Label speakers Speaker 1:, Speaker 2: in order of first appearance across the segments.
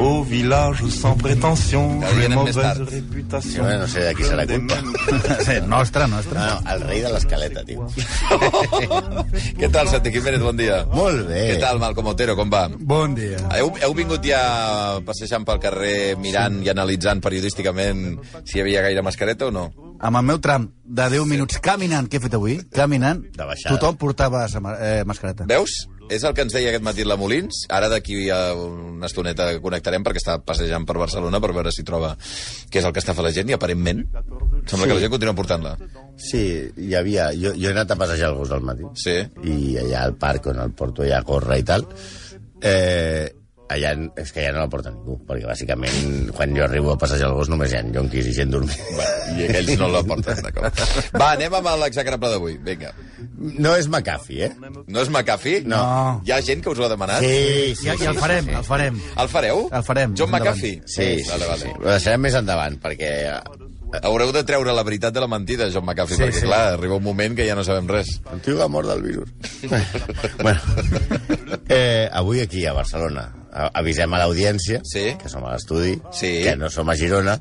Speaker 1: Au village sans prétention,
Speaker 2: Ja vienen més
Speaker 1: mauvaise
Speaker 2: tard.
Speaker 1: réputation.
Speaker 2: Jo no sé de qui serà culpa.
Speaker 3: Sí, nostra, nostra.
Speaker 4: Ah,
Speaker 2: No, no, el rei de l'escaleta, tio. Què tal, Santi Jiménez? Bon dia.
Speaker 3: Molt bé.
Speaker 2: Què tal, Malcom Otero? Com va?
Speaker 3: Bon dia.
Speaker 2: Heu, heu vingut ja passejant pel carrer, mirant i analitzant periodísticament si hi havia gaire mascareta o no?
Speaker 3: Amb el meu tram de 10 minuts caminant, què he fet avui? Caminant,
Speaker 2: De baixada.
Speaker 3: tothom portava sama- eh, mascareta.
Speaker 2: Veus? És el que ens deia aquest matí la Molins. Ara d'aquí a una estoneta connectarem perquè està passejant per Barcelona per veure si troba què és el que està fent la gent i aparentment sembla sí. que la gent continua portant-la.
Speaker 4: Sí, hi havia... Jo, jo he anat a passejar el gos al matí.
Speaker 2: Sí.
Speaker 4: I allà al parc on el porto allà corre i tal. Eh, allà, és que allà no la porta ningú, perquè bàsicament quan jo arribo a passejar el gos només hi ha llonquis i gent dormint.
Speaker 2: Bueno, I aquells no la porten, d'acord. Va, anem amb l'execrable d'avui. Vinga.
Speaker 4: No és McAfee, eh?
Speaker 2: No és McAfee?
Speaker 3: No.
Speaker 2: Hi ha gent que us ho ha demanat?
Speaker 4: Sí,
Speaker 3: I, I el farem, el farem.
Speaker 2: El fareu?
Speaker 3: El farem,
Speaker 2: John
Speaker 3: endavant.
Speaker 2: McAfee?
Speaker 4: Sí, sí,
Speaker 2: Vale,
Speaker 4: sí.
Speaker 2: vale.
Speaker 4: Ho deixarem més endavant, perquè... eh,
Speaker 2: Haureu de treure la veritat de la mentida, John McAfee, sí, perquè, sí. clar, arriba un moment que ja no sabem res.
Speaker 4: El tio que ha mort del virus. bueno, eh, avui aquí, a Barcelona, a- avisem a l'audiència,
Speaker 2: Sí.
Speaker 4: que som a l'estudi,
Speaker 2: Sí.
Speaker 4: que no som a Girona,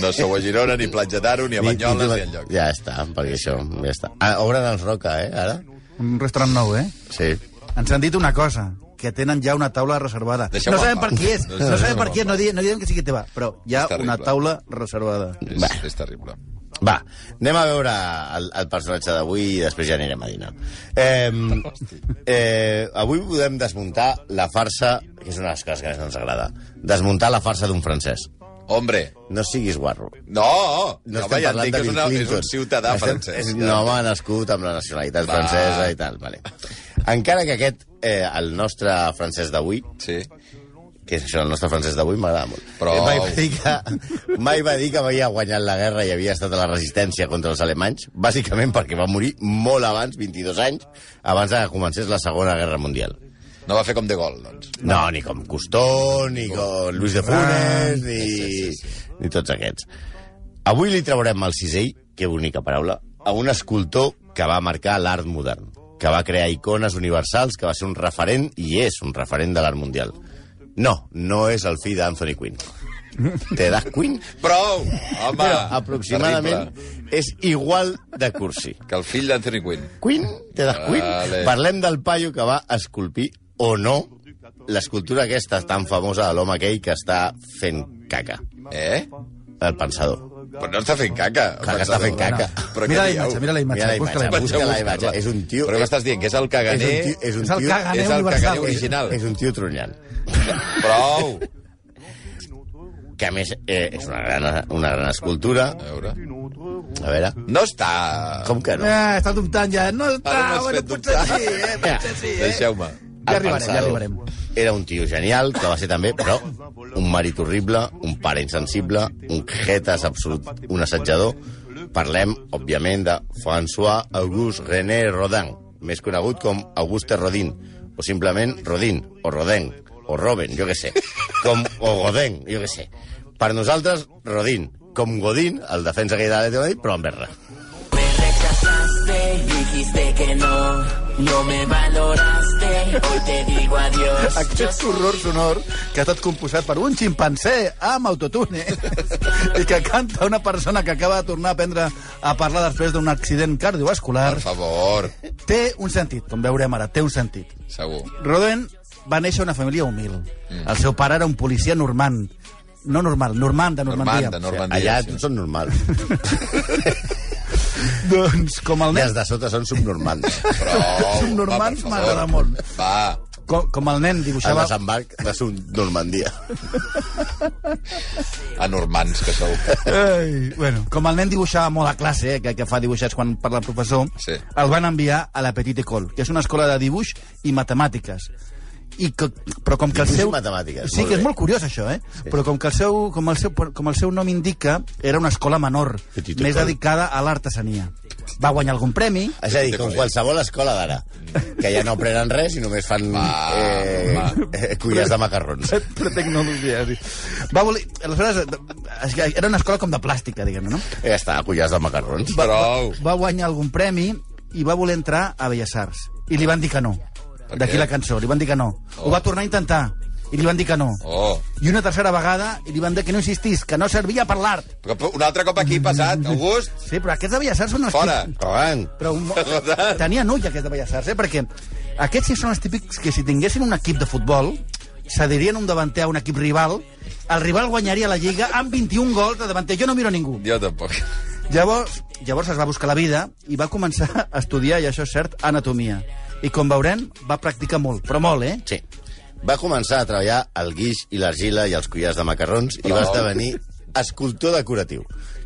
Speaker 2: No sou a Girona, ni Platja d'Aro, ni a Banyoles, ni, enlloc.
Speaker 4: Ja està, perquè això, ja està. Ah, obren els Roca, eh, ara?
Speaker 3: Un restaurant nou, eh?
Speaker 4: Sí.
Speaker 3: Ens han dit una cosa, que tenen ja una taula reservada.
Speaker 2: Deixeu-me
Speaker 3: no sabem
Speaker 2: en pau.
Speaker 3: per qui és, no,
Speaker 2: No, deixeu-me
Speaker 3: sabem per
Speaker 2: en
Speaker 3: qui és, no, di, no diem que sigui teva, però hi ha
Speaker 2: És terrible.
Speaker 3: una taula reservada.
Speaker 2: És, és terrible.
Speaker 4: Va, anem a veure el, el personatge d'avui i després ja anirem a dinar. Eh, eh, avui podem desmuntar la farsa, que és una de les coses que més ens agrada, desmuntar la farsa d'un francès.
Speaker 2: Hombre,
Speaker 4: No siguis guarro.
Speaker 2: no!
Speaker 4: No
Speaker 2: home,
Speaker 4: estem
Speaker 2: ja et
Speaker 4: parlant
Speaker 2: dic
Speaker 4: de
Speaker 2: que és,
Speaker 4: Bill
Speaker 2: una, és
Speaker 4: Clinton.
Speaker 2: un ciutadà
Speaker 4: estem,
Speaker 2: francès.
Speaker 4: És un
Speaker 2: ja.
Speaker 4: home nascut amb la nacionalitat
Speaker 2: Va.
Speaker 4: francesa i tal, vale. Encara que aquest, eh, el nostre francès d'avui,
Speaker 2: Sí.
Speaker 4: que és això, el nostre francès d'avui m'agrada molt.
Speaker 2: Prou.
Speaker 4: Eh, Mai va, dir que, mai va dir que havia guanyat la guerra i havia estat a la resistència contra els alemanys, bàsicament perquè va morir molt abans, 22 anys, abans de que comencés la Segona Guerra Mundial.
Speaker 2: No va fer com de gol, doncs.
Speaker 4: No, ni com Costó, ni com Luis de Funes, ni, ni tots aquests. Avui li traurem el sisell, que bonica paraula, a un escultor que va marcar l'art modern, que va crear icones universals, que va ser un referent, i és un referent de l'art mundial. No, no és el fill d'Anthony Quinn. Te das Quinn?
Speaker 2: Prou! Home!
Speaker 4: Però aproximadament
Speaker 2: Terrible.
Speaker 4: és igual de cursi.
Speaker 2: Que el fill d'Anthony Quinn.
Speaker 4: Queen, te das Queen?
Speaker 2: Vale.
Speaker 4: Parlem del paio que va esculpir, o no, l'escultura aquesta tan famosa de l'home aquell que està fent caca.
Speaker 2: Eh?
Speaker 4: El pensador.
Speaker 2: Però no està fent caca. el
Speaker 4: Clar que està
Speaker 2: pensador.
Speaker 4: fent caca.
Speaker 3: mira
Speaker 2: Però què
Speaker 3: la
Speaker 2: dieu?
Speaker 3: imatge, mira la imatge,
Speaker 4: Mira la
Speaker 3: busca la
Speaker 4: imatge,
Speaker 3: imatge.
Speaker 4: busca la imatge. És un tio...
Speaker 2: Però què m'estàs dient? Que és el
Speaker 4: és
Speaker 2: caganer...
Speaker 4: un tio, és un
Speaker 3: És el
Speaker 4: tio,
Speaker 3: caganer
Speaker 2: és el caganer
Speaker 3: universal.
Speaker 2: original.
Speaker 4: és un tio trullant.
Speaker 2: Prou!
Speaker 4: Que a més eh, és una gran, una gran escultura.
Speaker 2: A veure...
Speaker 4: A veure...
Speaker 2: No està...
Speaker 4: Com que no?
Speaker 3: Eh, està dubtant ja, no està,
Speaker 2: Ara m'has
Speaker 3: bueno,
Speaker 2: fet
Speaker 3: potser
Speaker 2: dubtar.
Speaker 3: sí, eh, potser sí, eh?
Speaker 2: Deixeu-me.
Speaker 3: Ja
Speaker 4: El
Speaker 3: arribarem,
Speaker 4: pensador
Speaker 3: ja arribarem.
Speaker 4: Era un tio genial, que va ser també, però un marit horrible, un pare insensible, un jetes absolut, un assetjador. Parlem, òbviament, de François Auguste René Rodin, més conegut com Auguste Rodin, o simplement Rodin, o Rodin, o Robin, jo que sé, com, o Godin, jo que sé. Per nosaltres, Rodin, com Godin, el defensa que hi ha de l'Atlètic de Madrid, però en verra.
Speaker 5: Me rechazaste, dijiste que no, no me valoraste, hoy te digo adiós.
Speaker 3: Aquest horror sonor que ha estat composat per un ximpancé amb autotune eh? i que canta una persona que acaba de tornar a aprendre a parlar després d'un accident cardiovascular
Speaker 2: Per favor,
Speaker 3: té un sentit, com veurem ara, té un sentit.
Speaker 2: segur.
Speaker 3: Roden va néixer a una família humil. El seu pare era un policia normand. No normal, normand de Normandia.
Speaker 2: Normanda,
Speaker 4: Allà
Speaker 2: Normandia. sí.
Speaker 4: tots són normals.
Speaker 3: Doncs com el
Speaker 4: I
Speaker 3: nen...
Speaker 4: els de sota són subnormals.
Speaker 2: Prou,
Speaker 3: Són normals,
Speaker 2: va, per favor.
Speaker 3: m'agrada molt.
Speaker 2: Va,
Speaker 3: Com, com el nen
Speaker 4: El
Speaker 3: dibuixava...
Speaker 4: desembarc de Sud Normandia.
Speaker 2: anormans que sou.
Speaker 3: Ai, bueno, com el nen dibuixava molt a classe, eh, que, que fa dibuixats quan parla el professor,
Speaker 2: Sí.
Speaker 3: el van enviar a la Petite École, que és una escola de dibuix i matemàtiques. I que, però com que el
Speaker 4: Dibuix i
Speaker 3: seu...
Speaker 4: matemàtiques,
Speaker 3: Sí,
Speaker 4: molt
Speaker 3: que és
Speaker 4: bé.
Speaker 3: molt curiós, això, eh? Sí. Però com que el seu, com el seu, com el seu nom indica, era una escola menor,
Speaker 4: Petite
Speaker 3: més
Speaker 4: École.
Speaker 3: dedicada a l'artesania. va guanyar algun premi.
Speaker 4: És a dir, com qualsevol escola d'ara, que ja no prenen res i només fan eh, eh, cullers de macarrons.
Speaker 3: Però tecnologia. Sí. Va voler... Aleshores, és que era una escola com de plàstica, diguem-ne, no?
Speaker 4: Ja està, cullers de macarrons.
Speaker 2: Mm. Prou.
Speaker 3: Va guanyar algun premi i va voler entrar a Belles Arts. I li van dir que no. D'aquí
Speaker 2: què?
Speaker 3: la cançó, li van dir que no. Ho va tornar a intentar i li van dir que no.
Speaker 2: Oh.
Speaker 3: I una tercera vegada i li van dir que no insistís, que no servia per l'art.
Speaker 2: Però Un altre cop aquí passat, August,
Speaker 3: Sí, però aquests de Belles Arts són els
Speaker 2: fora.
Speaker 3: típics-
Speaker 4: Rogan,
Speaker 3: Però un...
Speaker 2: Escolta.
Speaker 3: Tenien ull aquests de Belles Arts, eh? perquè aquests sí són els típics que si tinguessin un equip de futbol cedirien un davanter a un equip rival, el rival guanyaria la Lliga amb 21 gols de davanter. Jo no miro ningú.
Speaker 2: Jo tampoc.
Speaker 3: Llavors, llavors es va buscar la vida i va començar a estudiar, i això és cert, anatomia. I com veurem, va practicar molt, però molt, eh?
Speaker 4: sí. Va començar a treballar el guix i l'argila i els cullers de macarrons i va esdevenir escultor decoratiu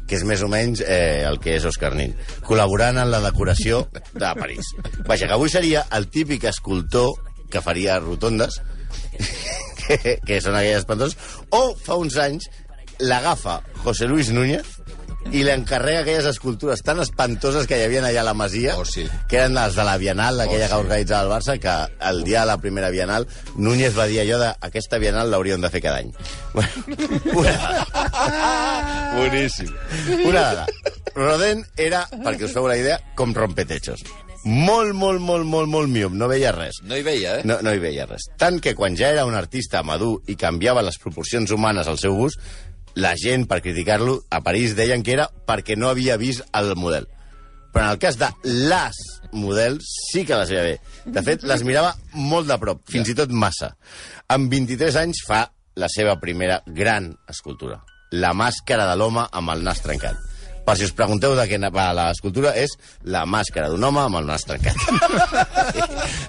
Speaker 4: que és més o menys eh, el que és Oscar Nin, col·laborant en la decoració de París. Vaja, que avui seria el típic escultor que faria rotondes, que, que són aquelles espantoses, o fa uns anys l'agafa José Luis Núñez i li encarrega aquelles escultures tan espantoses que hi havia allà a la Masia,
Speaker 2: Oh, sí.
Speaker 4: que eren les de la Bienal, aquella oh, sí. que organitzava el Barça, que el dia de la primera Bienal Núñez va dir allò de aquesta Bienal l'hauríem de fer cada any. Una,
Speaker 2: Boníssim.
Speaker 4: una dada. Roden era, perquè us feu la idea, com rompetechos. Molt, molt, molt, molt, molt miop, no veia res.
Speaker 2: No hi veia, eh?
Speaker 4: No, no hi veia res. Tant que quan ja era un artista madur i canviava les proporcions humanes al seu gust, la gent, per criticar-lo, a París deien que era perquè no havia vist el model. Però en el cas de les models, sí que les veia bé. De fet, les mirava molt de prop, fins i tot massa. Amb 23 anys fa la seva primera gran escultura, la màscara de l'home amb el nas trencat. Per si us pregunteu de què va l'escultura, és la màscara d'un home amb el nas trencat.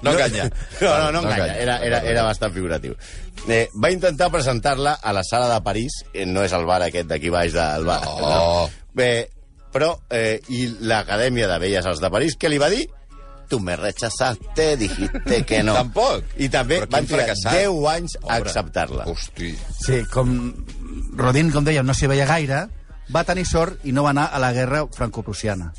Speaker 2: No enganya.
Speaker 4: No, no, no enganya. Era, era, era bastant figuratiu. Eh, va intentar presentar-la a la sala de París. Eh, no és el bar aquest d'aquí baix del bar.
Speaker 2: No.
Speaker 4: Eh, però, eh, i l'Acadèmia de Belles Arts de París, què li va dir? Tu me rechazaste, dijiste que no.
Speaker 2: Tampoc.
Speaker 4: I també
Speaker 2: Però quin
Speaker 4: van trigar
Speaker 2: fracassat.
Speaker 4: 10 anys a
Speaker 2: Pobre.
Speaker 4: acceptar-la.
Speaker 2: Hosti.
Speaker 3: Sí, com Rodin, com dèiem, no s'hi veia gaire, va tenir sort i no va anar a la guerra franco-prussiana.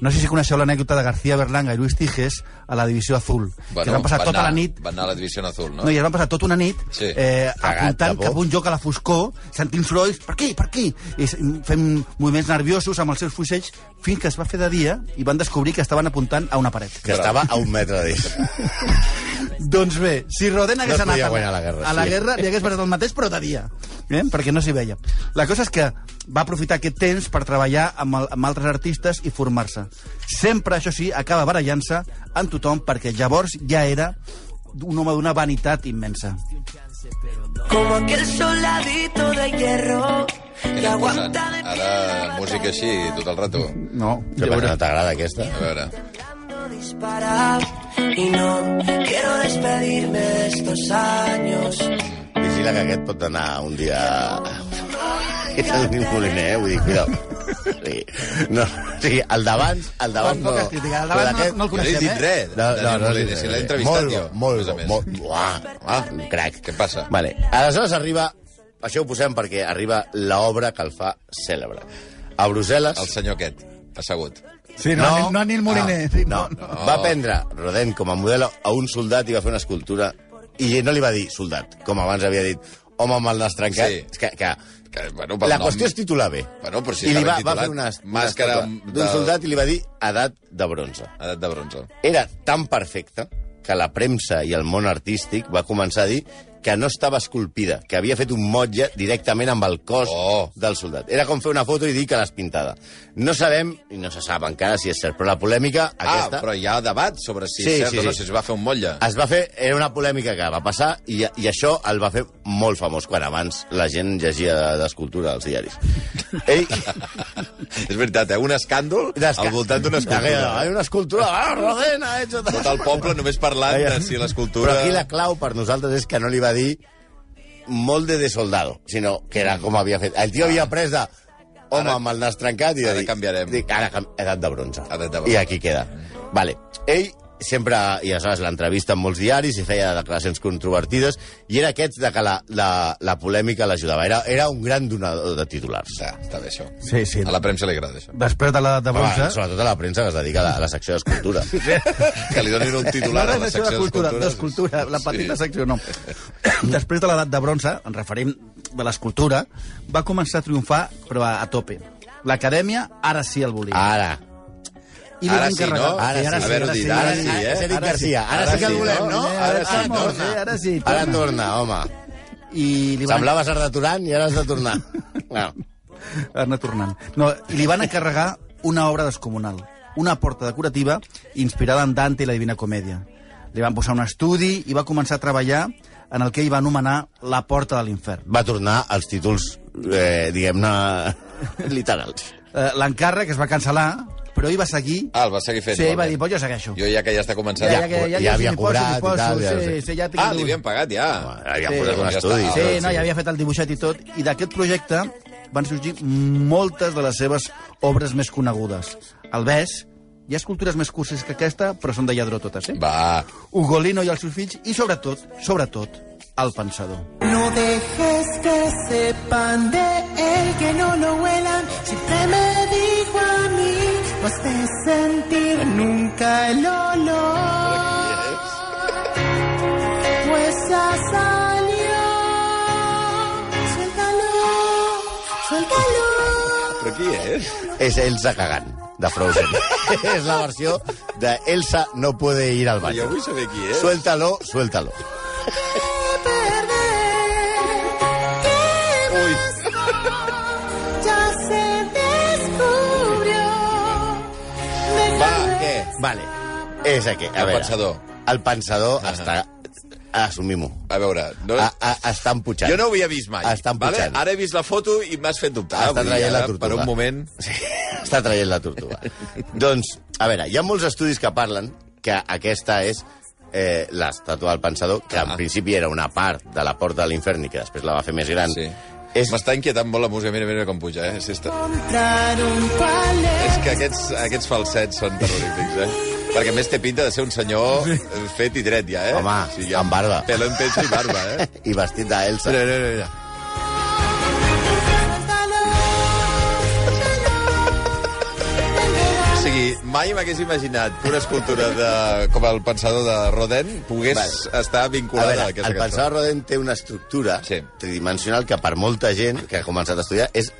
Speaker 3: No sé si coneixeu l'anècdota de García Berlanga i Luis Tiges a la Divisió Azul, bueno, que es van passar
Speaker 2: va
Speaker 3: tota
Speaker 2: anar,
Speaker 3: la nit...
Speaker 2: Va anar a la divisió en azul, no?
Speaker 3: No, i es van passar tota una nit
Speaker 2: Sí.
Speaker 3: eh,
Speaker 4: Cagat de
Speaker 3: apuntant
Speaker 4: por.
Speaker 3: cap a un lloc a la foscor, sentint sorolls, per aquí, per aquí, i s- fent moviments nerviosos amb els seus fusells, fins que es va fer de dia i van descobrir que estaven apuntant a una paret.
Speaker 4: Que estava a un metre d'ell.
Speaker 3: Doncs bé, si Roden
Speaker 4: No
Speaker 3: hagués
Speaker 4: es
Speaker 3: anat
Speaker 4: podia
Speaker 3: a
Speaker 4: guanyar la guerra,
Speaker 3: a la
Speaker 4: sí.
Speaker 3: guerra li hagués passat el mateix, però de dia, eh? perquè no s'hi veia. La cosa és que va aprofitar aquest temps per treballar amb, el, amb altres artistes i formar-se. Sempre, això sí, acaba barallant-se amb tothom, perquè llavors ja era un home d'una vanitat immensa.
Speaker 5: Como aquel soldadito de hierro que
Speaker 2: Quina
Speaker 5: aguanta
Speaker 2: cosa.
Speaker 5: de
Speaker 2: Ara, música així, tot el rato.
Speaker 3: No,
Speaker 4: Què passa, no t'agrada aquesta?
Speaker 2: A veure.
Speaker 5: disparar y no quiero despedirme de estos años.
Speaker 4: Vigila que aquest pot anar un dia... És el Nil Moliner, eh? Vull dir, cuidao. Sí. No, sí, el d'abans, el d'abans
Speaker 3: Tampoc
Speaker 4: no.
Speaker 3: es critica, el
Speaker 4: Però
Speaker 3: d'abans no-
Speaker 4: aquest-
Speaker 3: no el
Speaker 2: Jo no he
Speaker 3: coneixem,
Speaker 2: dit
Speaker 3: eh?
Speaker 2: res.
Speaker 4: No, no, no,
Speaker 2: Moliner,
Speaker 4: no,
Speaker 2: si
Speaker 4: no,
Speaker 2: l'he
Speaker 4: no.
Speaker 2: entrevistat
Speaker 4: molt
Speaker 2: jo.
Speaker 4: bo, Molt
Speaker 2: Més a
Speaker 4: bo,
Speaker 2: més.
Speaker 4: molt Uah, ah, un crac.
Speaker 2: Què passa?
Speaker 4: Vale. Aleshores arriba... Això ho posem perquè arriba l'obra que el fa cèlebre. A Brussel·les...
Speaker 2: El senyor aquest, assegut.
Speaker 3: Sí, no, no, no Nil Moliner.
Speaker 4: No,
Speaker 3: sí,
Speaker 4: no, no.
Speaker 2: Oh.
Speaker 4: Va prendre Rodin com a model a un soldat i va fer una escultura i no li va dir soldat, com abans havia dit home amb el nas trencat.
Speaker 2: Sí.
Speaker 4: És Que, que,
Speaker 2: Que, bueno, pel
Speaker 4: la
Speaker 2: nom-
Speaker 4: qüestió és titular bé.
Speaker 2: Bueno, però si
Speaker 4: I li va,
Speaker 2: estava
Speaker 4: va
Speaker 2: titulat,
Speaker 4: fer una, una
Speaker 2: màscara
Speaker 4: estàtua
Speaker 2: amb-
Speaker 4: d'un
Speaker 2: de-
Speaker 4: soldat i li va dir edat de bronze.
Speaker 2: Edat de bronze.
Speaker 4: Era tan perfecta que la premsa i el món artístic va començar a dir que no estava esculpida, que havia fet un motlle directament amb el cos
Speaker 2: Oh.
Speaker 4: del soldat. Era com fer una foto i dir que l'has pintada. No sabem, i no se sap encara si és cert, però la polèmica aquesta...
Speaker 2: Ah, però hi ha debat sobre si
Speaker 4: Sí,
Speaker 2: és cert
Speaker 4: sí,
Speaker 2: o no,
Speaker 4: sí.
Speaker 2: si es va fer un motlle.
Speaker 4: Es va fer, era una polèmica que va passar i, i això el va fer molt famós quan abans la gent llegia d'escultura als diaris. Ell,
Speaker 2: és veritat, eh? Un escàndol al voltant d'una escultura.
Speaker 4: Hi una escultura, ah, Rodena, ha hecho...
Speaker 2: Tot el poble només parlant de si l'escultura...
Speaker 4: Però aquí la clau per nosaltres és que no li va dir molde de soldado, sinó que era com havia fet. El tio havia pres de home
Speaker 2: Ara-
Speaker 4: amb el nas trencat i de
Speaker 2: ara
Speaker 4: dir...
Speaker 2: canviarem.
Speaker 4: Dic, ara, cam- edat de bronze.
Speaker 2: Edat de bronze.
Speaker 4: I aquí queda. Vale. Ell sempre, ja saps, l'entrevista en molts diaris i feia declaracions controvertides i era aquest de que la, la, la polèmica l'ajudava. Era, era un gran donador de titulars.
Speaker 2: Ja, Ah, està bé, això.
Speaker 3: Sí, sí.
Speaker 2: A la premsa li agrada, això.
Speaker 3: Després de la de
Speaker 4: Però,
Speaker 3: bronze...
Speaker 4: va, sobretot a la premsa que es dedica a la, a la secció d'escultura.
Speaker 2: Que li donin un titular
Speaker 3: no,
Speaker 2: a
Speaker 3: no,
Speaker 2: la
Speaker 3: secció
Speaker 2: secció
Speaker 3: de cultura, d'escultura,
Speaker 2: d'escultura.
Speaker 3: la petita
Speaker 2: Sí.
Speaker 3: secció, no. Després de l'edat de bronze, en referent de l'escultura, va començar a triomfar, però a, a tope. L'acadèmia, ara sí el volia.
Speaker 4: Ara.
Speaker 3: I li
Speaker 2: Ah, Ara
Speaker 3: van
Speaker 2: sí,
Speaker 3: carregar-
Speaker 2: no?
Speaker 4: Ara sí,
Speaker 2: haver-ho dit, ara sí, eh?
Speaker 4: Cedric
Speaker 3: Ara sí.
Speaker 4: Garcia, ara,
Speaker 2: Ara
Speaker 4: sí que
Speaker 2: sí,
Speaker 4: el volem,
Speaker 2: no?
Speaker 4: no?
Speaker 2: Ara sí,
Speaker 3: torna. Ara sí,
Speaker 4: Ara
Speaker 3: torna.
Speaker 4: torna, home.
Speaker 3: I li van
Speaker 4: Semblaves Arda Turan i ara has de tornar. Bueno,
Speaker 3: anar tornant. No, i li van encarregar una obra descomunal, una porta decorativa inspirada en Dante i la Divina Comèdia. Li van posar un estudi i va començar a treballar en el que ell va anomenar la porta de l'infern.
Speaker 4: va tornar als títols, eh, diguem-ne, literals.
Speaker 3: Eh, L'encàrrec es va cancel·lar, però ell va seguir...
Speaker 2: Ah, el va seguir fent.
Speaker 3: sí, ell va
Speaker 2: igualment.
Speaker 3: dir, pues jo segueixo.
Speaker 2: Jo ja que ja està començant...
Speaker 4: Ja, ja, ja havia
Speaker 3: si m'hi poso,
Speaker 4: cobrat
Speaker 3: m'hi
Speaker 4: i
Speaker 3: poso,
Speaker 4: tal, ja
Speaker 3: sí,
Speaker 4: sé.
Speaker 3: sí, ja tinc
Speaker 2: Ah,
Speaker 3: el-
Speaker 2: li havien pagat, ja.
Speaker 4: Havia
Speaker 3: Sí.
Speaker 4: posat un
Speaker 2: Ja
Speaker 4: estudi.
Speaker 2: està.
Speaker 3: Sí, no, ja havia fet el dibuixet i tot, i d'aquest projecte van sorgir moltes de les seves obres més conegudes. El Ves, hi ha escultures més curses que aquesta, però són de lladró totes, eh?
Speaker 2: Va,
Speaker 3: Ugolino i els seus fills, i sobretot, sobretot, el pensador.
Speaker 5: No dejes que sepan de él que no lo huelan. Siempre me dijo a mí, no has de sentir nunca el olor. Pues ya salió. Suéltalo, suéltalo.
Speaker 2: però qui és?
Speaker 4: És Elsa cagant, de Frozen. és la versió de Elsa no puede ir al
Speaker 2: Jo
Speaker 4: baño.
Speaker 2: vull saber qui és.
Speaker 4: Suéltalo, suéltalo.
Speaker 5: Te perder. ¿Qué
Speaker 2: Ui.
Speaker 5: pasó? Ya se descubrió.
Speaker 2: Va,
Speaker 5: Déjame
Speaker 2: què?
Speaker 4: Vale. És aquest. A
Speaker 2: Eh, El
Speaker 4: veure.
Speaker 2: pensador.
Speaker 4: El pensador està... Assumim-ho.
Speaker 2: A veure, no...
Speaker 4: A- a- Està emputxant.
Speaker 2: jo no ho havia vist mai.
Speaker 4: Està
Speaker 2: vale?
Speaker 4: emputxant.
Speaker 2: Ara he vist la foto i m'has fet dubtar.
Speaker 4: Està
Speaker 2: Vull dir,
Speaker 4: traient la
Speaker 2: ara,
Speaker 4: tortuga.
Speaker 2: Per un moment...
Speaker 4: Sí, està traient la tortuga. doncs, a veure, hi ha molts estudis que parlen que aquesta és eh, l'estàtua del pensador, que en
Speaker 2: Ah.
Speaker 4: principi era una part de la porta de l'infern i que després la va fer més gran.
Speaker 2: Sí.
Speaker 4: És,
Speaker 2: M'està inquietant molt la música. Mira, mira com puja, eh? Sí, està...
Speaker 5: encontrar un palet.
Speaker 2: És que aquests, aquests falsets són terrorífics, eh? Perquè a més té pinta de ser un senyor fet i dret, ja, eh?
Speaker 4: Home, amb barba.
Speaker 2: Pelo en pecho i barba, eh?
Speaker 4: I vestit d'Elsa.
Speaker 2: Mira, mira, mira. O sigui, mai m'hagués imaginat que una escultura de, com el pensador de Rodin pogués
Speaker 4: Vale.
Speaker 2: estar
Speaker 4: A
Speaker 2: vinculada a,
Speaker 4: veure,
Speaker 2: aquesta
Speaker 4: el
Speaker 2: cançó.
Speaker 4: pensador Rodin té una estructura
Speaker 2: Sí.
Speaker 4: tridimensional que per molta gent que ha començat a estudiar és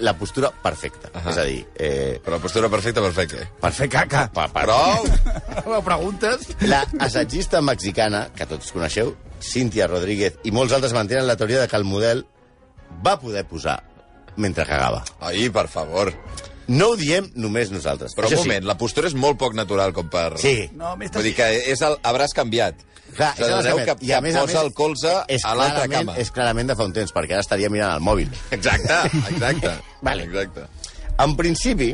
Speaker 4: la postura perfecta.
Speaker 2: Ahà.
Speaker 4: És a dir, eh,
Speaker 2: Però la postura perfecta, perfecta.
Speaker 4: per fer caca. Per, per,
Speaker 2: Prou!
Speaker 3: Ho preguntes?
Speaker 4: La assagista mexicana, que tots coneixeu, Cynthia Rodríguez, i molts altres mantenen la teoria de que el model va poder posar mentre cagava.
Speaker 2: Ai, per favor.
Speaker 4: No ho diem només nosaltres.
Speaker 2: Però
Speaker 4: Això
Speaker 2: un moment, la postura és molt poc natural com per...
Speaker 4: Sí. sí.
Speaker 3: No, més
Speaker 2: Vull dir que és el... hauràs canviat.
Speaker 4: Clar,
Speaker 2: Us adoneu
Speaker 4: és
Speaker 2: que,
Speaker 4: i a
Speaker 2: que
Speaker 4: més a
Speaker 2: posa
Speaker 4: més, eh,
Speaker 2: el colze
Speaker 4: és
Speaker 2: a l'altra
Speaker 4: clarament-
Speaker 2: cama.
Speaker 4: És clarament de fa un temps, perquè ara estaria mirant el mòbil.
Speaker 2: Exacte, exacte.
Speaker 4: Vale.
Speaker 2: exacte.
Speaker 4: En principi,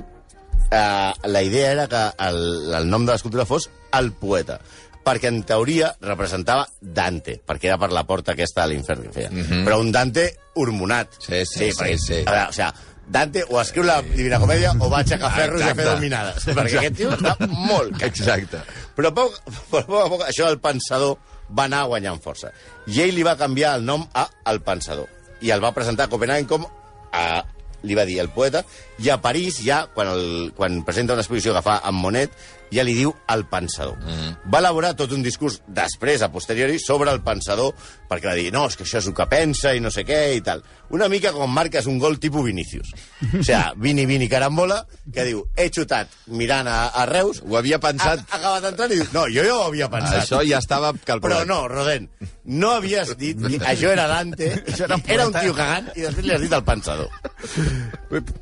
Speaker 4: eh, la idea era que el, el nom de l'escultura fos El poeta, perquè en teoria representava Dante, perquè era per la porta aquesta de l'infern que feia. Mm -hmm. Però un Dante hormonat.
Speaker 2: Mhm. Sí, sí, sí,
Speaker 4: perquè-
Speaker 2: sí.
Speaker 4: A veure, o sigui, Dante o escriu la Divina Comèdia o va aixecar ferros i a fer
Speaker 2: Ah, Exacte.
Speaker 4: dominades. Perquè aquest tio està molt... cacat.
Speaker 2: Exacte.
Speaker 4: Però a poc, però a poc a poc això del pensador va anar guanyant força. I ell li va canviar el nom a El Pensador. I el va presentar a Copenhague com a, li va dir el poeta, i a París ja, quan, el, quan presenta una exposició que fa amb Monet, ja li diu el pensador. Mm. Va elaborar tot un discurs després, a posteriori, sobre el pensador, perquè va dir, no, és que això és el que pensa i no sé què i tal. Una mica com marques un gol tipus Vinícius. O sigui, Vini, Vini, Carambola, que diu, he xutat mirant a, a Reus,
Speaker 2: Ho havia pensat.
Speaker 4: ha, ha acabat entrant i diu, no, jo ja ho havia Ah, pensat.
Speaker 2: Això ja estava
Speaker 4: Però
Speaker 2: calculat.
Speaker 4: no, Roden, no havies dit... Això era Dante, era, era un tio cagant i després li has dit el pensador.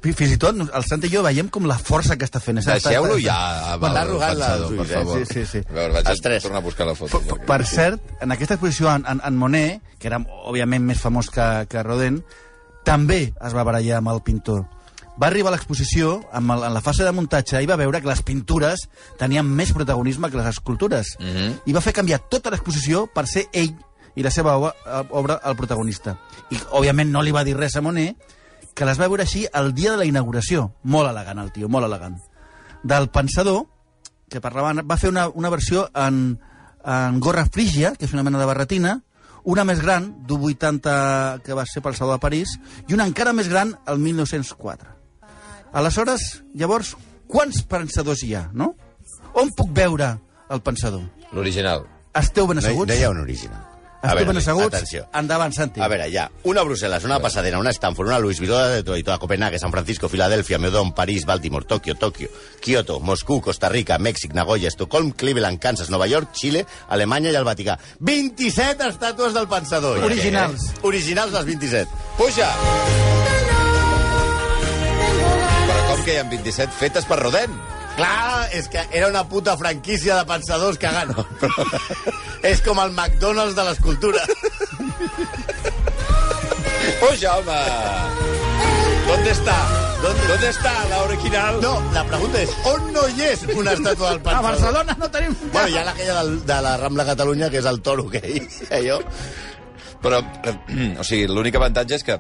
Speaker 3: Fins i tot, el Sant i jo veiem com la força que està fent. Està-
Speaker 2: Deixeu-lo
Speaker 3: està-
Speaker 2: ja,
Speaker 4: M'ha
Speaker 2: el
Speaker 4: arrugat la
Speaker 2: pensador, per
Speaker 4: ulls, eh?
Speaker 2: favor.
Speaker 3: Sí, sí, sí.
Speaker 2: A veure, vaig
Speaker 4: Els tres.
Speaker 2: a tornar a buscar la foto.
Speaker 3: Per- Per cert, en aquesta exposició en, en, en Monet, que era òbviament més famós que, que Rodin, també es va barallar amb el pintor. Va arribar a l'exposició, amb el, en la fase de muntatge, i va veure que les pintures tenien més protagonisme que les escultures. Mm -hmm. I va fer canviar tota l'exposició per ser ell i la seva obra, obra el protagonista. I, òbviament, no li va dir res a Monet, que les va veure així el dia de la inauguració. Molt elegant, el tio, molt elegant. Del pensador que parlava, va fer una, una versió en, en gorra frígia, que és una mena de barretina, una més gran, d'un 80, que va ser pel Saló de París, i una encara més gran, el 1904. Aleshores, llavors, quants pensadors hi ha, no? On puc veure el pensador?
Speaker 2: L'original.
Speaker 3: Esteu ben
Speaker 4: No, hi-
Speaker 3: asseguts?
Speaker 4: no hi ha un original.
Speaker 3: Esteu ben asseguts?
Speaker 4: atenció.
Speaker 3: Endavant, Santi.
Speaker 4: A veure, hi ha una Brussel·les, una Pasadena, una Stanford, una Louis Vuitton, una Detroit, una Copenhague, San Francisco, Filadèlfia, Meudon, París, Baltimore, Tòquio, Tòquio, Kyoto, Moscú, Costa Rica, Mèxic, Nagoya, Estocolm, Cleveland, Kansas, Nova York, Xile, Alemanya i el Vaticà. 27 estàtues del pensador.
Speaker 3: Originals.
Speaker 4: Eh? Originals les 27. Puja!
Speaker 2: Però com que hi ha 27 fetes per Rodent?
Speaker 4: Clar, és que era una puta franquícia de pensadors cagant. és com el McDonald's de l'escultura.
Speaker 2: Puja, home! ¿Dónde está? ¿Dónde, ¿Dónde está la original?
Speaker 4: No, la pregunta és, on no hi és una estàtua del
Speaker 3: A
Speaker 4: pensador?
Speaker 3: Barcelona no tenim...
Speaker 4: Bueno, hi ha aquella del, de la Rambla Catalunya, que és el toro que hi allò.
Speaker 2: Però, eh, o sigui, l'únic avantatge és que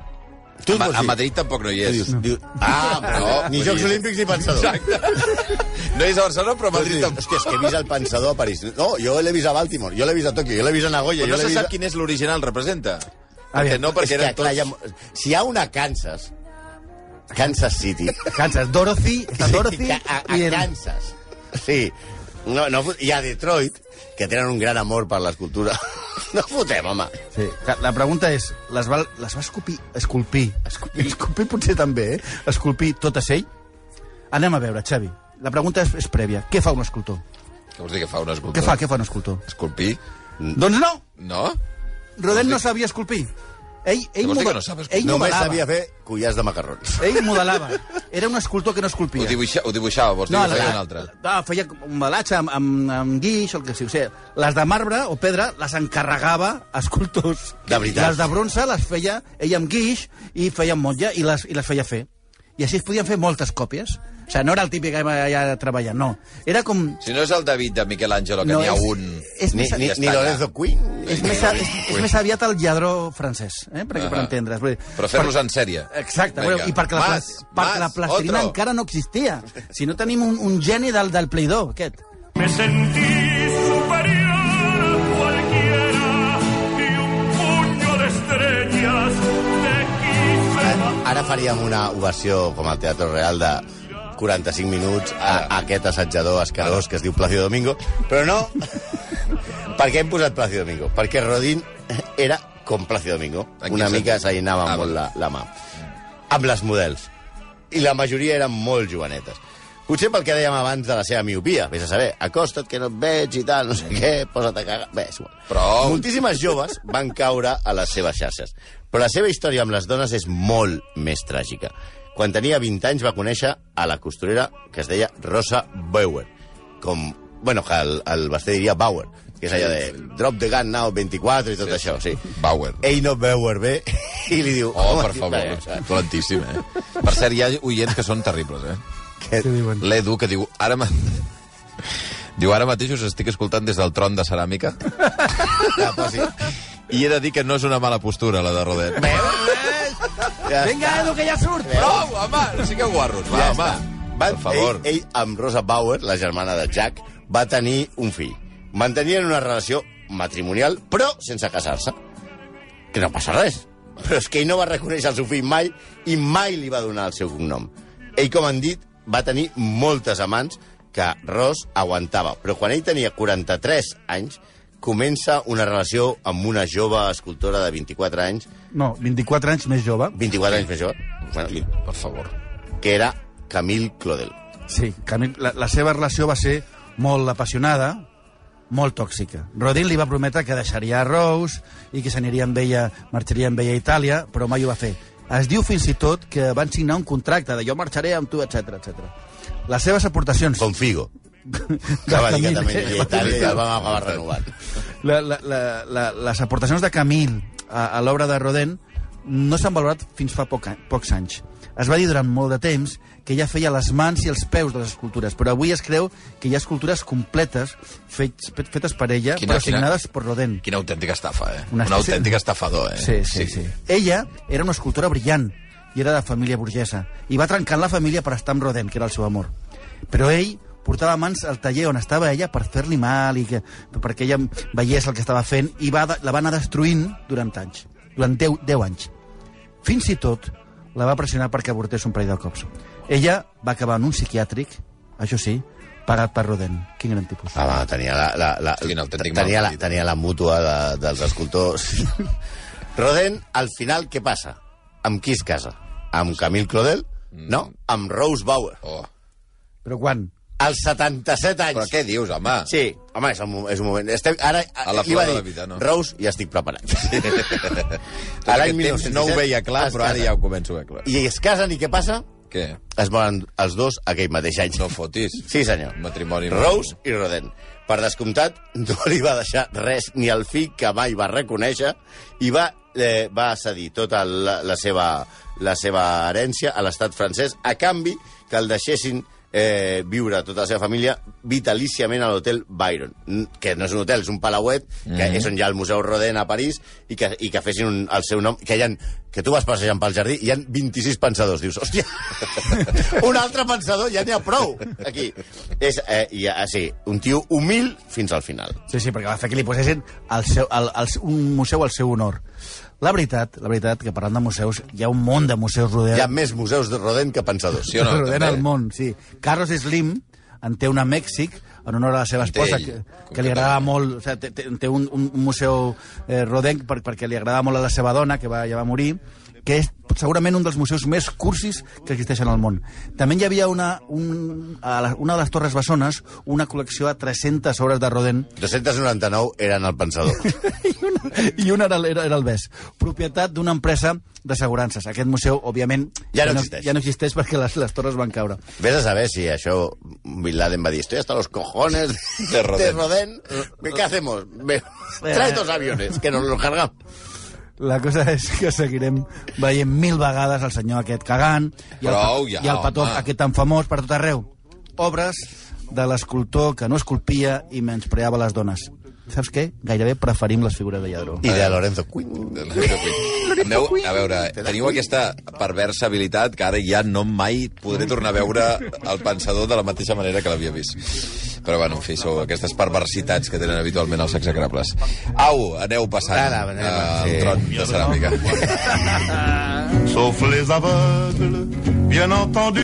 Speaker 4: Tu
Speaker 2: a, Ma-
Speaker 4: vols
Speaker 2: a
Speaker 4: dir?
Speaker 2: Madrid tampoc no hi és.
Speaker 4: Dius, diu, ah, però
Speaker 2: No,
Speaker 4: ni
Speaker 2: vull
Speaker 4: Jocs
Speaker 2: dir-
Speaker 4: Olímpics ni pensador.
Speaker 2: Exacte. No és a Barcelona, però a Madrid
Speaker 4: Madrid,
Speaker 2: tampoc.
Speaker 4: hòstia, és que he vist el pensador a París. No, jo l'he vist a Baltimore, jo l'he vist a Tòquio, jo l'he vist a Nagoya,
Speaker 2: Però
Speaker 4: jo
Speaker 2: no
Speaker 4: l'he
Speaker 2: se
Speaker 4: vist...
Speaker 2: sap quin és l'original, representa. Perquè
Speaker 3: Aviam,
Speaker 2: no, perquè
Speaker 4: és que,
Speaker 2: eren
Speaker 4: clar, hi
Speaker 2: tots...
Speaker 4: ha... Si hi ha una a Kansas, Kansas City...
Speaker 3: Kansas, Dorothy, està Dorothy...
Speaker 4: Sí, a, a, a
Speaker 3: i el-
Speaker 4: Kansas. Sí. No, no, fot- I a Detroit, que tenen un gran amor per l'escultura. No fotem, home.
Speaker 3: Sí. clar, La pregunta és, les va, les va escopir, esculpir, esculpir, esculpir potser també, eh? Esculpir totes ell? Anem a veure, Xavi. La pregunta és, és prèvia. Què fa un escultor?
Speaker 2: Què vols dir que fa un escultor?
Speaker 3: Què fa, què fa un escultor?
Speaker 2: Esculpir?
Speaker 3: Doncs no!
Speaker 2: No?
Speaker 3: Rodel no sabia esculpir. Ell, ell,
Speaker 2: Vols dir que
Speaker 3: model-
Speaker 2: no sap esculpir?
Speaker 3: ell
Speaker 4: Només
Speaker 3: modelava.
Speaker 4: sabia fer collars de macarrons.
Speaker 3: Ell modelava. Era un escultor que no esculpia.
Speaker 2: Ho, dibuixa, ho dibuixava, vols dir,
Speaker 3: No,
Speaker 2: no,
Speaker 3: la,
Speaker 2: feia un altre.
Speaker 3: no, feia un balatge amb, amb, amb guix, o el que sigui. O sigui, les de marbre o pedra les encarregava a escultors.
Speaker 4: De veritat.
Speaker 3: Les de bronze les feia ell amb guix i feia amb motlle i les, i les feia fer. I així es podien fer moltes còpies. O sigui, no era el típic que anava allà a treballar, no. Era com...
Speaker 2: Si no és el David de Miquel Àngelo, que
Speaker 3: no,
Speaker 2: n'hi ha
Speaker 3: és,
Speaker 2: un...
Speaker 3: És,
Speaker 4: Ni,
Speaker 3: més,
Speaker 4: ni,
Speaker 2: ja
Speaker 4: ni
Speaker 2: està,
Speaker 4: Lorenzo Quinn.
Speaker 3: és, més, a- és, és més aviat el lladró francès, eh? perquè, per
Speaker 2: Ahà.
Speaker 3: entendre's. Vull dir,
Speaker 2: Però fer-los en sèrie.
Speaker 3: Exacte,
Speaker 2: Vinga.
Speaker 3: bueno, i perquè la,
Speaker 2: Mas,
Speaker 3: pla- perquè la
Speaker 2: Mas,
Speaker 3: plasterina
Speaker 2: otro.
Speaker 3: encara no existia. Si no tenim un, un geni del, del Play-Doh, aquest.
Speaker 6: Me sentí superior a cualquiera y un puño de estrellas te quise matar.
Speaker 4: Ara faríem una ovació com al Teatre Real de 45 minuts a, a aquest assetjador escarós que es diu Placio Domingo, però no... per què hem posat Placio Domingo? Perquè Rodin era com Placio Domingo.
Speaker 2: En quin
Speaker 4: Una mica
Speaker 2: sentit?
Speaker 4: s'allinava
Speaker 2: Ah,
Speaker 4: molt
Speaker 2: vale.
Speaker 4: la, la mà. Amb les models. I la majoria eren molt jovenetes. Potser pel que dèiem abans de la seva miopia, vés a saber, acosta't que no et veig i tal, no sé què, posa't a cagar... Bé, és igual.
Speaker 2: Prou.
Speaker 4: Moltíssimes joves van caure a les seves xarxes. Però la seva història amb les dones és molt més tràgica. Quan tenia 20 anys va conèixer a la costurera que es deia Rosa Bauer, com... Bueno, que el, el Basté diria Bauer, que és allò de drop the gun now 24 i tot sí, això, sí.
Speaker 2: Bauer.
Speaker 4: Ell no Bauer bé i li diu...
Speaker 2: Oh, per
Speaker 4: "Home,
Speaker 2: favor.
Speaker 4: vaja,
Speaker 2: Dolentíssim, eh? Per cert, hi ha oients que són terribles, eh?
Speaker 4: Què diuen?
Speaker 2: L'Edu, que diu... Ara ma... Diu, ara mateix us estic escoltant des del tron de ceràmica Ah,
Speaker 4: Ja, posi.
Speaker 2: i he de dir que no és una mala postura, la de Rodet. eh.
Speaker 4: Eh, Ja
Speaker 3: Vinga,
Speaker 4: està.
Speaker 3: Edu, que ja surt!
Speaker 2: Prou, home! No sigueu guarros, va,
Speaker 4: Ja
Speaker 2: home!
Speaker 4: està.
Speaker 2: Per favor.
Speaker 4: Ell, ell, amb Rosa Bauer, la germana de Jack, va tenir un fill. Mantenien una relació matrimonial, però sense casar-se. Que no passa res. Però és que ell no va reconèixer el seu fill mai i mai li va donar el seu cognom. Ell, com han dit, va tenir moltes amants que Ross aguantava. Però quan ell tenia 43 anys, comença una relació amb una jove escultora de 24 anys,
Speaker 3: No, 24 anys més jove.
Speaker 4: 24 anys més jove, bueno, vint-
Speaker 2: Per favor.
Speaker 4: que era Camille Claudel.
Speaker 3: Sí, Camil, la, la seva relació va ser molt apassionada, molt tòxica. Rodin li va prometre que deixaria a Rose i que s'aniria amb ella, marxaria amb ella a Itàlia, però mai ho va fer. Es diu fins i tot que van signar un contracte de jo marxaré amb tu, etc etc. Les seves aportacions...
Speaker 4: Com Figo.
Speaker 3: de
Speaker 4: Que va dir que
Speaker 3: Camil,
Speaker 4: també
Speaker 3: eh?
Speaker 4: aniria a Itàlia i el vam acabar renovant.
Speaker 3: la, la, la, la, les aportacions de Camil a, a l'obra de Rodin no s'han valorat fins fa poc, a- pocs anys. Es va dir durant molt de temps que ja feia les mans i els peus de les escultures, però avui es creu que hi ha escultures completes fetes, fetes per ella,
Speaker 2: Quina-
Speaker 3: però
Speaker 2: quina-
Speaker 3: signades per Rodin.
Speaker 2: Quina autèntica estafa, eh?
Speaker 3: Una
Speaker 2: Un
Speaker 3: espècie-
Speaker 2: autèntic estafador, eh?
Speaker 3: Sí, sí, sí. Ella era una escultora brillant i era de família burgesa i va trencar la família per estar amb Rodin, que era el seu amor. Però ell portava mans al taller on estava ella per fer-li mal i que, perquè ella veiés el que estava fent i va, de- la va anar destruint durant anys, durant 10, 10 anys. Fins i tot la va pressionar perquè avortés un parell de cops. Ella va acabar en un psiquiàtric, això sí, pagat per Rodin. Quin gran tipus.
Speaker 4: Ah, va, tenia la, la, la,
Speaker 2: Quin autèntic
Speaker 4: tenia, la,
Speaker 2: maldito.
Speaker 4: tenia la mútua de, dels escultors. Rodin, al final, què passa? Amb qui es casa? Amb Camille Claudel?
Speaker 2: Mm.
Speaker 4: No, amb Rose Bauer.
Speaker 2: Oh.
Speaker 3: Però quan?
Speaker 4: Als 77 anys.
Speaker 2: Però què dius, home?
Speaker 4: Sí, home, és un, mo- és un moment. Estem, ara, eh,
Speaker 2: A la
Speaker 4: iba
Speaker 2: flor de
Speaker 4: dir,
Speaker 2: la vida, no?
Speaker 4: Rose, ja estic preparat.
Speaker 2: Tot aquest temps no ho veia clar, però ara ja ho començo a veure clar.
Speaker 4: I es casen, i què passa?
Speaker 2: Què?
Speaker 4: Es moren els dos aquell mateix any.
Speaker 2: No fotis.
Speaker 4: Sí, senyor.
Speaker 2: Matrimoni.
Speaker 4: Rose i Roden. Per descomptat, no li va deixar res ni al fill que mai va reconèixer i va, eh, va cedir tota la, la, seva, la seva herència a l'estat francès a canvi que el deixessin eh, viure tota la seva família vitalíciament a l'hotel Byron, n- que no és un hotel, és un palauet, que és on hi ha el Museu Rodin a París, i que, i que fessin un, el seu nom, que hi ha, que tu vas passejant pel jardí, hi ha 26 pensadors, dius, hòstia, un altre pensador, ja n'hi ha prou, aquí. És, eh, i, eh, sí, un tio humil fins al final.
Speaker 3: Sí, sí, perquè va fer que li posessin el seu, el, el, un museu al seu honor. La veritat, la veritat, que parlant de museus, hi ha un món de museus rodeats.
Speaker 4: Hi ha més museus de Rodin que pensadors.
Speaker 2: Sí o no?
Speaker 3: Rodent
Speaker 2: També.
Speaker 3: al món, sí. Carlos Slim en té una a Mèxic en honor a la seva
Speaker 2: En té
Speaker 3: esposa,
Speaker 2: ell,
Speaker 3: que, que li agradava molt, o sigui, té- té, té un, un un museu eh, rodenc per, perquè li agradava molt a la seva dona, que va, ja va morir, que és segurament un dels museus més cursis que existeixen al món. També hi havia una, un, a la, una de les Torres Bessones una col·lecció de 300 obres de Rodent
Speaker 4: 299 eren el pensador.
Speaker 3: i una era, era, era el BES, propietat d'una empresa d'assegurances. Aquest museu, òbviament,
Speaker 4: Ja no existeix.
Speaker 3: ja no existeix perquè les, les torres van caure.
Speaker 4: Ves a saber si això Bin Laden va dir estoy hasta los cojones de
Speaker 2: Rodin.
Speaker 4: Rodén. ¿Qué hacemos? Me- Trae dos aviones, que nos los cargamos.
Speaker 3: La cosa és que seguirem veient mil vegades el senyor aquest cagant i el,
Speaker 2: Prou ja,
Speaker 3: i el petó
Speaker 2: home.
Speaker 3: aquest tan famós per tot arreu. Obres de l'escultor que no esculpia i menyspreava les dones. Saps què? Gairebé preferim les figures de lladró.
Speaker 4: I de Lorenzo Quinn.
Speaker 2: Meu, a veure, teniu aquesta perversa habilitat que ara ja no mai podré tornar a veure el pensador de la mateixa manera que l'havia vist. Però, bueno, en fi, sou aquestes perversitats que tenen habitualment els execrables. Au, aneu passant
Speaker 4: Ara, anem,
Speaker 2: eh,
Speaker 4: sí.
Speaker 2: el tron de ceràmica.
Speaker 1: Sauf les aveugles, bien entendu.